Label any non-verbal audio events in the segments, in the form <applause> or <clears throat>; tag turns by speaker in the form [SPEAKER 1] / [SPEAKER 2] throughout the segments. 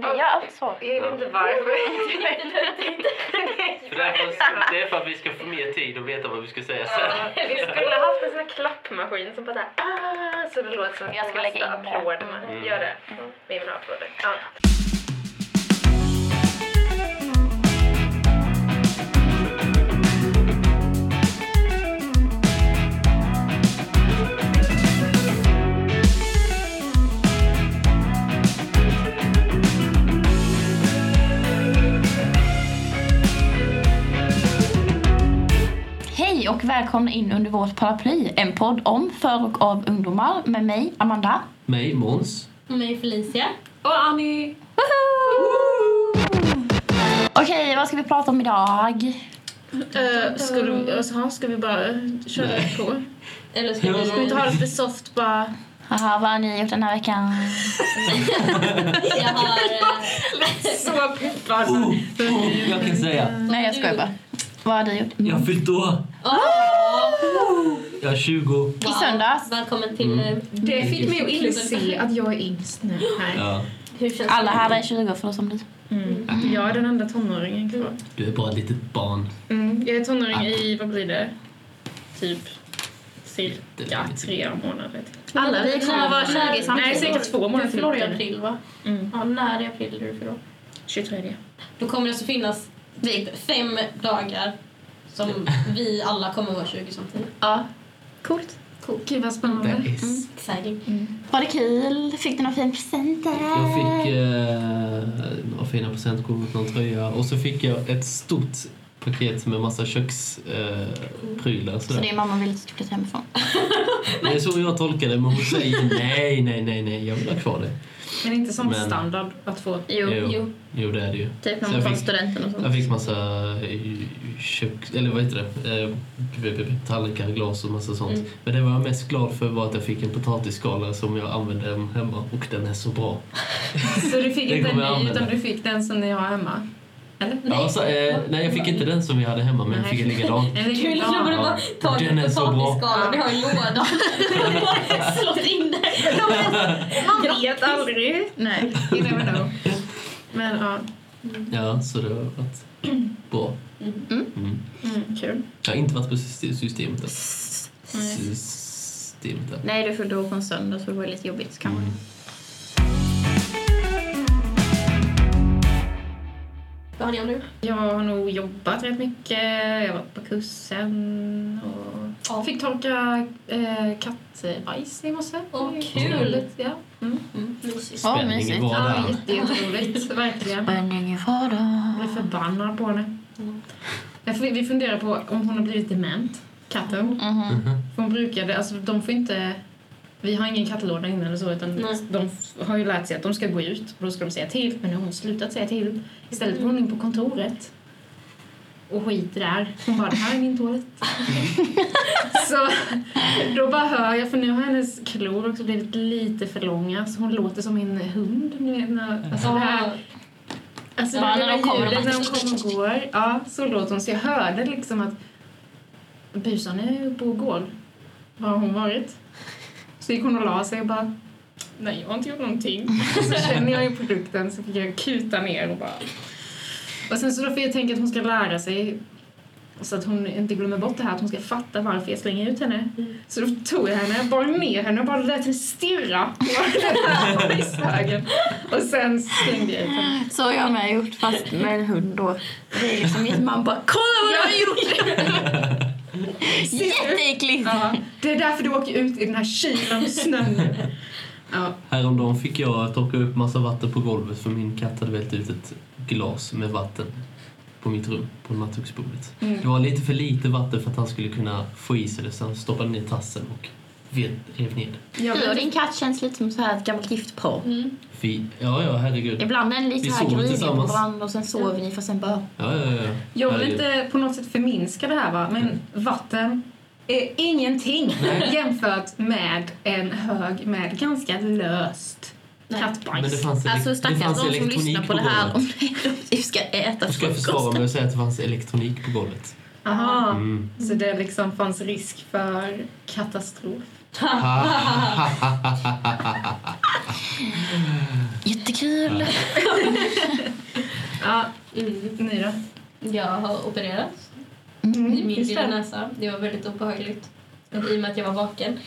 [SPEAKER 1] Vi gör allt så.
[SPEAKER 2] Jag vet inte varför.
[SPEAKER 3] För det, är för att, det är för att vi ska få mer tid och veta vad vi ska säga sen.
[SPEAKER 2] <laughs> Vi skulle haft en sån här klappmaskin som bara där, ah, så det låter som
[SPEAKER 1] Jag ska
[SPEAKER 2] de
[SPEAKER 1] lägga
[SPEAKER 2] värsta
[SPEAKER 1] in det.
[SPEAKER 2] applåderna.
[SPEAKER 3] Mm.
[SPEAKER 2] Gör det. Med mina applåder. Ja.
[SPEAKER 1] Hej och välkomna in under vårt paraply. En podd om, för och av ungdomar med mig, Amanda.
[SPEAKER 3] <laughs> Mig, Måns.
[SPEAKER 4] Mig Felicia. Och Annie.
[SPEAKER 1] Okej, vad ska vi prata om idag?
[SPEAKER 5] Eh, ska, du, alltså, ja, ska vi bara köra
[SPEAKER 3] Nej.
[SPEAKER 5] på?
[SPEAKER 4] Eller ska
[SPEAKER 3] Ja.
[SPEAKER 5] Ska vi
[SPEAKER 4] vi...
[SPEAKER 5] inte ha lite soft bara?
[SPEAKER 1] Haha, vad har ni gjort den här veckan?
[SPEAKER 4] Jag har... eh,
[SPEAKER 5] Så peppad!
[SPEAKER 3] Oh, oh, jag kan säga.
[SPEAKER 1] Nej, jag skojar bara. Vad har du gjort?
[SPEAKER 3] Jag har fyllt år.
[SPEAKER 4] åh,
[SPEAKER 3] Jag är 20.
[SPEAKER 1] I
[SPEAKER 4] wow.
[SPEAKER 1] söndags.
[SPEAKER 4] Välkommen till...
[SPEAKER 3] Mm.
[SPEAKER 4] eh,
[SPEAKER 5] Det fick mig att inse
[SPEAKER 4] klubben.
[SPEAKER 5] att jag är yngst nu. Nej.
[SPEAKER 3] Ja,
[SPEAKER 4] Hur känns
[SPEAKER 1] Alla
[SPEAKER 4] det?
[SPEAKER 1] här är 20 förutom du.
[SPEAKER 5] Mm. Jag är den enda tonåringen kvar.
[SPEAKER 3] du är bara ett litet barn.
[SPEAKER 5] Mm. Jag är tonåring i, vad blir det? Typ cirka
[SPEAKER 3] Jättelänge.
[SPEAKER 5] tre månader till.
[SPEAKER 4] Men
[SPEAKER 5] Alla vi kommer
[SPEAKER 4] när-
[SPEAKER 5] vara
[SPEAKER 4] när-
[SPEAKER 5] 20 samtidigt.
[SPEAKER 4] när-
[SPEAKER 5] Nej, cirka två månader
[SPEAKER 4] Du förlorar i
[SPEAKER 5] till.
[SPEAKER 4] april, va?
[SPEAKER 5] Mm.
[SPEAKER 4] Ja, när i april är du förlorar.
[SPEAKER 5] 23.
[SPEAKER 4] Då kommer det alltså finnas typ fem dagar
[SPEAKER 3] <laughs>
[SPEAKER 4] som vi alla kommer vara 20 samtidigt.
[SPEAKER 5] Ja. Coolt.
[SPEAKER 4] Coolt.
[SPEAKER 5] Gud vad
[SPEAKER 3] Det
[SPEAKER 5] spännande.
[SPEAKER 3] är s-
[SPEAKER 4] Exciting.
[SPEAKER 1] Var det kul? Fick du några fina presenter?
[SPEAKER 3] Jag fick eh, några fina presentkort, någon tröja och så fick jag ett stort paket med massa köksprylar. Eh, prylar,
[SPEAKER 1] Så
[SPEAKER 3] sådär.
[SPEAKER 1] din mamma ville att du skulle flytta hemifrån.
[SPEAKER 3] det är så jag tolkar det, men hon säger nej, nej, nej, nej, jag vill ha kvar det.
[SPEAKER 5] Men inte sån
[SPEAKER 3] Men-
[SPEAKER 5] standard att få.
[SPEAKER 3] Jo.
[SPEAKER 4] Jo.
[SPEAKER 3] Jo, det är det ju.
[SPEAKER 5] Typ
[SPEAKER 3] Så jag fick-
[SPEAKER 5] studenten och
[SPEAKER 3] Jag fick massa eh, kök... Eller vad heter det? Eh, b- b- Tallrikar, glas och massa sånt.
[SPEAKER 4] Mm.
[SPEAKER 3] Men det var jag mest glad för var att jag fick en potatisskalare som jag använde hemma och den är så bra.
[SPEAKER 5] Så du fick
[SPEAKER 3] Det
[SPEAKER 5] inte en
[SPEAKER 3] kommer jag
[SPEAKER 5] ny
[SPEAKER 3] använda.
[SPEAKER 5] utan du fick den som ni har hemma? Eller?
[SPEAKER 3] Nej, ja, så, eh, nej jag fick inte den som vi hade hemma men jag
[SPEAKER 5] Nej.
[SPEAKER 3] fick en likadan.
[SPEAKER 5] En
[SPEAKER 4] Kul att du
[SPEAKER 5] likadan.
[SPEAKER 4] borde bara ta
[SPEAKER 3] Den
[SPEAKER 4] en
[SPEAKER 3] är så bra.
[SPEAKER 4] potatisskal och du har
[SPEAKER 3] <laughs>
[SPEAKER 4] i lådan. Slått in den.
[SPEAKER 5] Man vet aldrig. Nej, you never know. Men ja,
[SPEAKER 3] Ja, så det har varit bra. Mm.
[SPEAKER 5] mm, kul.
[SPEAKER 3] Jag har inte varit på syste- systemet än.
[SPEAKER 5] Nej.
[SPEAKER 3] Systemet än.
[SPEAKER 1] Nej, du fyllde år på en söndag så det var lite jobbigt kanske.
[SPEAKER 3] Mm.
[SPEAKER 4] Vad har ni gjort nu?
[SPEAKER 5] Jag har nog jobbat rätt mycket. Jag har varit på kursen och
[SPEAKER 4] Ja.
[SPEAKER 5] fick torka eh, kattbajs i morse.
[SPEAKER 4] Åh, kul.
[SPEAKER 5] Roligt, Ja. Mm.
[SPEAKER 4] Mm, mysigt.
[SPEAKER 1] Ja,
[SPEAKER 3] Spänningen
[SPEAKER 1] mysigt.
[SPEAKER 3] var
[SPEAKER 5] Ja,
[SPEAKER 3] där.
[SPEAKER 5] jätte- jätteroligt. Verkligen.
[SPEAKER 1] Spänning i vardag.
[SPEAKER 5] Jag blev förbannad på henne.
[SPEAKER 4] Mm.
[SPEAKER 5] Jag får- Vi funderar på om hon har blivit dement, katten.
[SPEAKER 4] Mm. Mm-hmm.
[SPEAKER 1] Mhm.
[SPEAKER 5] För Hon brukade, alltså de får inte... Vi har ingen kattlåda inne eller så utan
[SPEAKER 4] Nej.
[SPEAKER 5] de f- har ju lärt sig att de ska gå ut och då ska de säga till men nu har hon slutat säga till. Istället går hon in på kontoret och skiter där. Hon bara, det här är min toalett.
[SPEAKER 4] Mm.
[SPEAKER 5] <laughs> så då bara hör jag, för nu har hennes klor också blivit lite för långa så hon låter som en hund. Ni vet när, alltså det här, Alltså
[SPEAKER 1] Ja,
[SPEAKER 5] det
[SPEAKER 1] när de
[SPEAKER 5] lilla
[SPEAKER 1] kommer och
[SPEAKER 5] ljudet
[SPEAKER 1] bara-
[SPEAKER 5] när de kommer och går. Ja, så låter hon. Så jag hörde liksom att busan är uppe och går. Var har hon varit? Så gick hon och la sig och bara Nej, jag har inte gjort någonting. Så känner jag ju produkten så fick jag kuta ner och bara... Och sen så då får jag tänka att hon ska lära sig så att hon inte glömmer bort det här, att hon ska fatta varför jag slänger ut henne. Så då tog jag henne, bar ner henne och bara lät henne stirra på den här <laughs> bajshögen. Och sen slängde jag ut henne.
[SPEAKER 1] Så har jag med gjort fast med en hund då. Det är liksom min man bara kolla vad du har gjort! Jätteäckligt!
[SPEAKER 5] Ja, det är därför du åker ut i den här kylan och snön nu. Ja,
[SPEAKER 3] Häromdagen fick jag torka upp massa vatten på golvet för min katt hade vält ut ett glas med vatten på mitt rum, på nattduksbordet. Det var lite för lite vatten för att han skulle kunna få i sig det så han stoppade ner tassen och ved- rev ner det.
[SPEAKER 5] jag
[SPEAKER 1] Du och
[SPEAKER 5] vet.
[SPEAKER 1] din katt känns lite som så här ett gammalt giftpar.
[SPEAKER 3] Fy, ja, ja, herregud.
[SPEAKER 1] Ibland är ni lite
[SPEAKER 3] Vi
[SPEAKER 1] så här
[SPEAKER 3] sover
[SPEAKER 1] griniga på
[SPEAKER 3] tillsammans.
[SPEAKER 1] varandra och sen sover ni fast sen bara...
[SPEAKER 3] Ja, ja, ja.
[SPEAKER 5] jag vill
[SPEAKER 3] Herregud. Mm.
[SPEAKER 5] inte på något sätt förminska det här va, men vatten är ingenting jämfört med en hög med ganska löst
[SPEAKER 1] Nej.
[SPEAKER 3] Men det
[SPEAKER 5] kattbajs.
[SPEAKER 3] fanns, ele-
[SPEAKER 1] Alltså
[SPEAKER 3] det
[SPEAKER 1] stackars
[SPEAKER 3] fanns
[SPEAKER 1] de som
[SPEAKER 3] elektronik
[SPEAKER 1] lyssnar på det här
[SPEAKER 3] golvet.
[SPEAKER 1] om de ska äta
[SPEAKER 3] Jag ska försvara mig och säga att det fanns elektronik på golvet.
[SPEAKER 5] Aha.
[SPEAKER 3] Mm.
[SPEAKER 5] Så det liksom fanns risk för katastrof.
[SPEAKER 1] Jättekul!
[SPEAKER 4] Ja, mm,
[SPEAKER 5] Ni då? Mm,
[SPEAKER 4] jag har opererats i min
[SPEAKER 5] Just
[SPEAKER 4] lilla
[SPEAKER 5] det.
[SPEAKER 4] näsa. Mm, Det var väldigt obehagligt. I och med att jag var vaken.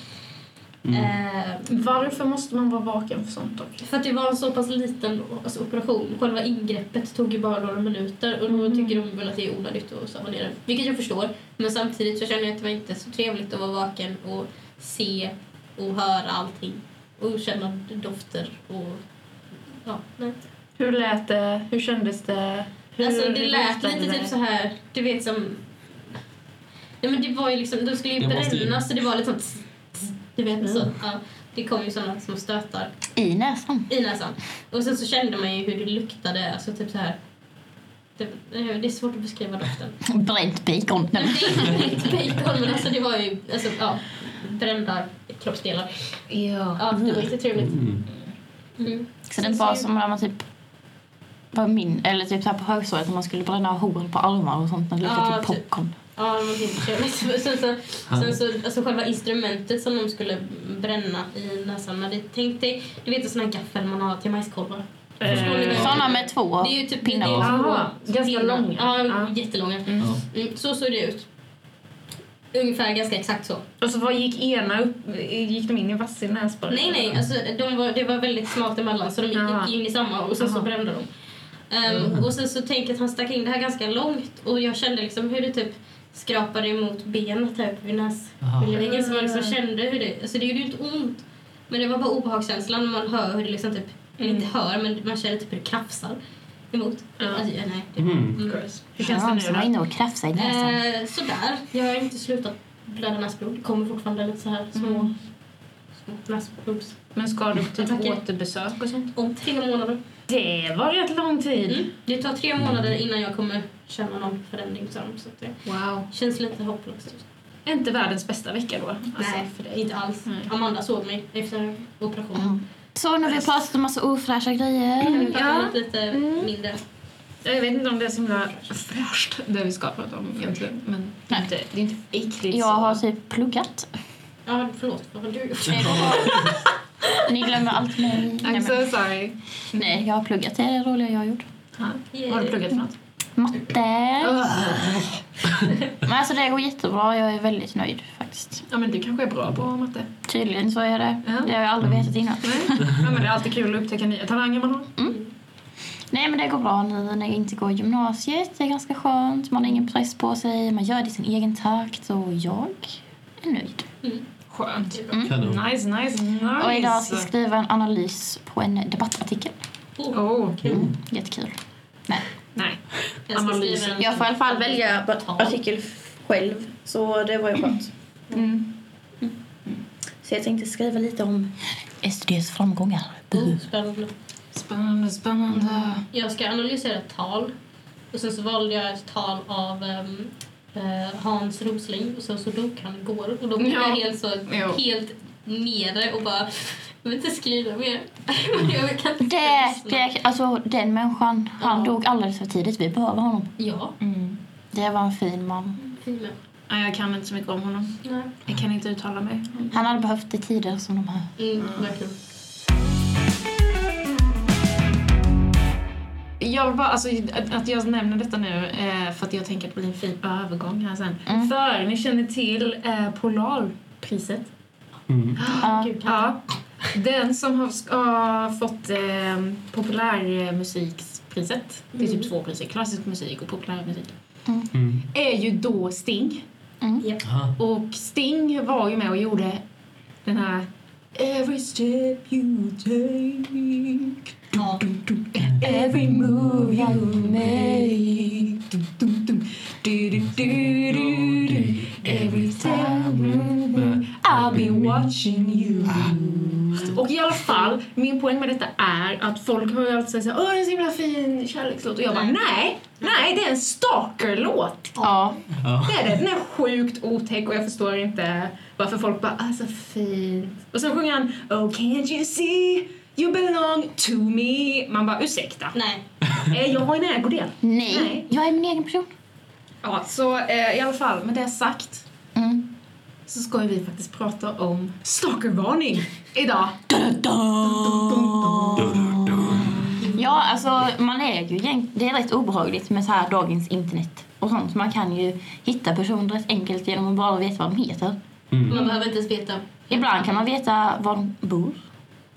[SPEAKER 3] Mm.
[SPEAKER 4] Eh,
[SPEAKER 5] Varför måste man vara vaken för sånt dock?
[SPEAKER 4] För att det var en så pass liten alltså, operation. Själva ingreppet tog ju bara några minuter och då
[SPEAKER 5] Mm.
[SPEAKER 4] tycker de väl att det är onödigt att sova ner den. Vilket jag förstår. Men samtidigt så känner jag att det var inte så trevligt att vara vaken och se och höra allting. Och känna dofter och... Ja, nej.
[SPEAKER 5] Hur lät det? Hur kändes det? Hur
[SPEAKER 4] Alltså det lät
[SPEAKER 5] luktade
[SPEAKER 4] lite
[SPEAKER 5] det?
[SPEAKER 4] typ så här, du vet som... Nej men det var ju liksom, de skulle ju
[SPEAKER 3] Det måste ju-
[SPEAKER 4] bränna så det var lite sånt... tss, tss, Du vet så.
[SPEAKER 5] Mm.
[SPEAKER 4] Ja, det kom ju sådana små stötar.
[SPEAKER 1] I näsan.
[SPEAKER 4] i näsan. Och sen så kände man ju hur det luktade, alltså typ så här. Det, eh, det är svårt att beskriva doften.
[SPEAKER 1] Bränt bacon.
[SPEAKER 4] Men
[SPEAKER 1] Nej,
[SPEAKER 4] det är inte bacon, men alltså det var ju alltså, ja, brända kroppsdelar.
[SPEAKER 5] Ja.
[SPEAKER 4] Ja, det var inte trevligt.
[SPEAKER 3] Mm.
[SPEAKER 4] Mm.
[SPEAKER 1] Så det var som när man typ var min, eller typ så här på högstadiet när man skulle bränna hår på armar och sånt när det luktade
[SPEAKER 4] Ja,
[SPEAKER 1] till
[SPEAKER 4] typ.
[SPEAKER 1] popcorn.
[SPEAKER 4] Ja, det var inte trevligt. Men <laughs> Sen så, sen så alltså själva instrumentet som de skulle bränna i näsan, men det, tänk dig, du vet en sån här gaffel man har till majskolvar. Förstår ni vad jag
[SPEAKER 5] Eh,
[SPEAKER 4] menar?
[SPEAKER 1] Såna med två
[SPEAKER 4] Det är ju typ det är
[SPEAKER 1] pinnar.
[SPEAKER 4] två
[SPEAKER 5] Aha, ganska
[SPEAKER 4] pinnar.
[SPEAKER 5] långa.
[SPEAKER 4] Ja,
[SPEAKER 5] Ja.
[SPEAKER 4] jättelånga.
[SPEAKER 3] Ja.
[SPEAKER 4] Mm, så såg det ut. Ungefär ganska exakt så.
[SPEAKER 5] Och så vad gick ena upp? Gick de in i vassin näsborre?
[SPEAKER 4] Nej, nej. Alltså, de var, det var väldigt smalt emellan så de gick
[SPEAKER 5] Jaha.
[SPEAKER 4] in i samma och sen så
[SPEAKER 5] Jaha. Mm.
[SPEAKER 4] brände de. Ehm, Och sen så tänker jag att han stack in det här ganska långt och jag kände liksom hur det typ skrapade emot benet här uppe vid
[SPEAKER 3] Aha.
[SPEAKER 4] näsbeläggen så man liksom
[SPEAKER 5] Mm.
[SPEAKER 4] kände hur det... Alltså det gjorde ju inte ont men det var bara obehagskänslan när man hör hur det liksom typ... eller Inte hör men man känner typ hur det krafsar emot.
[SPEAKER 5] Mm. Ja.
[SPEAKER 4] Alltså, ja, nej. det-
[SPEAKER 3] Mm.
[SPEAKER 4] Mm.
[SPEAKER 5] Hur känns det
[SPEAKER 1] som var
[SPEAKER 5] nu då?
[SPEAKER 1] inne och krafsade i näsan.
[SPEAKER 4] Eh, sådär. Jag har inte slutat blöda näsblod. Det kommer fortfarande lite så här små,
[SPEAKER 5] Mm.
[SPEAKER 4] små näsblods...
[SPEAKER 5] Men ska du på typ
[SPEAKER 4] Tack.
[SPEAKER 5] återbesök och sånt?
[SPEAKER 4] Om tre månader.
[SPEAKER 5] Det var rätt lång tid.
[SPEAKER 4] Mm. Det tar tre månader innan jag kommer känna någon förändring. Så så att det
[SPEAKER 5] Wow.
[SPEAKER 4] känns lite hopplöst. just nu.
[SPEAKER 5] Inte världens bästa vecka då? alltså,
[SPEAKER 4] Nej,
[SPEAKER 5] för dig.
[SPEAKER 4] inte alls.
[SPEAKER 5] Nej.
[SPEAKER 4] Amanda såg mig efter operationen.
[SPEAKER 1] Mm. Så nu har vi pratat om massa ofräscha grejer.
[SPEAKER 4] Jag
[SPEAKER 5] Ja.
[SPEAKER 4] har lite
[SPEAKER 5] Mm.
[SPEAKER 4] mindre.
[SPEAKER 5] Jag vet inte om det är så himla fräscht det vi ska prata om egentligen. Men det är inte, det är inte äckligt
[SPEAKER 1] Jag
[SPEAKER 5] så.
[SPEAKER 1] har typ pluggat.
[SPEAKER 4] Ja, förlåt. Vad har du gjort?
[SPEAKER 1] <laughs> Ni glömmer allt mig. Nej,
[SPEAKER 5] I'm
[SPEAKER 1] men-
[SPEAKER 5] so sorry.
[SPEAKER 1] Nej, jag har pluggat. Det är det roliga jag har gjort.
[SPEAKER 5] Ha. Vad har du pluggat för något?
[SPEAKER 1] Matte. Men alltså det går jättebra. Jag är väldigt nöjd faktiskt.
[SPEAKER 5] Ja men du kanske är bra på matte?
[SPEAKER 1] Tydligen så är det.
[SPEAKER 5] Ja. Mm.
[SPEAKER 1] Det har jag aldrig vetat innan.
[SPEAKER 5] Nej. ja, men det är alltid kul att upptäcka nya talanger man har.
[SPEAKER 1] Nej men det går bra nu när jag inte går gymnasiet. Det är ganska skönt. Man har ingen press på sig. Man gör det i sin egen takt och jag är nöjd.
[SPEAKER 5] Skönt.
[SPEAKER 3] Kanon.
[SPEAKER 5] Nice, nice, nice.
[SPEAKER 1] Och idag ska jag skriva en analys på en debattartikel.
[SPEAKER 4] Oh,
[SPEAKER 5] Oh,
[SPEAKER 1] Mm. Jättekul. Nej.
[SPEAKER 5] nej.
[SPEAKER 4] jag ska
[SPEAKER 5] Analysen.
[SPEAKER 4] skriva en-
[SPEAKER 1] Jag får i alla fall välja artikel själv. Så det var ju skönt.
[SPEAKER 5] Mm.
[SPEAKER 1] Så jag tänkte skriva lite om SDs framgångar.
[SPEAKER 4] Oh, spännande.
[SPEAKER 5] Spännande, spännande.
[SPEAKER 4] Jag ska analysera ett tal. Och sen så valde jag ett tal av ehm, eh, Hans Rosling och sen så dog han igår. Och då blev
[SPEAKER 5] Ja.
[SPEAKER 4] jag helt, så,
[SPEAKER 5] Jo.
[SPEAKER 4] helt nere och bara... Jag vill inte skriva mer. <laughs> jag kan inte
[SPEAKER 1] Det,
[SPEAKER 4] lyssna.
[SPEAKER 1] det, alltså, den människan, han
[SPEAKER 4] Ja.
[SPEAKER 1] dog alldeles för tidigt. Vi behöver honom.
[SPEAKER 4] Ja,
[SPEAKER 1] Mm. Det var en fin man.
[SPEAKER 4] fin människa.
[SPEAKER 5] Nej, jag kan inte så mycket om honom.
[SPEAKER 4] Nej.
[SPEAKER 5] Jag kan inte uttala mig.
[SPEAKER 1] Han hade behövt det i tider som de här.
[SPEAKER 4] Mm, verkligen.
[SPEAKER 5] Jag vill bara, alltså, att, att jag nämner detta nu eh, för att jag tänker att det blir en fin övergång här sen.
[SPEAKER 1] Mm.
[SPEAKER 5] För ni känner till eh, Polarpriset.
[SPEAKER 3] Mm.
[SPEAKER 1] Ja.
[SPEAKER 4] Gud, kan
[SPEAKER 5] Ja. Den som har, ska, har fått eh, populärmusikpriset, det är typ två priser, klassisk musik och populärmusik,
[SPEAKER 3] Mm.
[SPEAKER 5] är ju då Sting.
[SPEAKER 3] Aha.
[SPEAKER 5] Och Sting var ju med och gjorde den här Every step you take
[SPEAKER 4] Ja.
[SPEAKER 5] Every move you make Du, du, du. Du, du, du, du, du. Every time I've been watching you
[SPEAKER 4] Ah.
[SPEAKER 5] Och i alla fall, min poäng med detta är att folk har ju alltid sagt såhär Åh, det är en så himla fin kärlekslåt och jag bara
[SPEAKER 4] Nej.
[SPEAKER 5] nej, nej, det är en stalkerlåt
[SPEAKER 1] ja.
[SPEAKER 3] Ja.
[SPEAKER 5] det är det. Den är sjukt otäck och jag förstår inte varför folk bara ah, så fint. Och sen sjunger han Oh can't you see you belong to me. Man bara ursäkta,
[SPEAKER 4] Nej.
[SPEAKER 5] eh, jag har en ägodel.
[SPEAKER 1] Nej.
[SPEAKER 5] Nej.
[SPEAKER 1] Jag är min egen person.
[SPEAKER 5] Ja, så eh, i alla fall med det sagt
[SPEAKER 1] Mm.
[SPEAKER 5] så ska ju vi faktiskt prata om stalkervarning idag.
[SPEAKER 1] Ja, Alltså, man är ju egent- det är rätt obehagligt med så här dagens internet och sånt. Man kan ju hitta personer rätt enkelt genom att bara veta vad de heter.
[SPEAKER 3] Mm.
[SPEAKER 4] Man behöver inte ens veta.
[SPEAKER 1] Ibland kan man veta var de bor.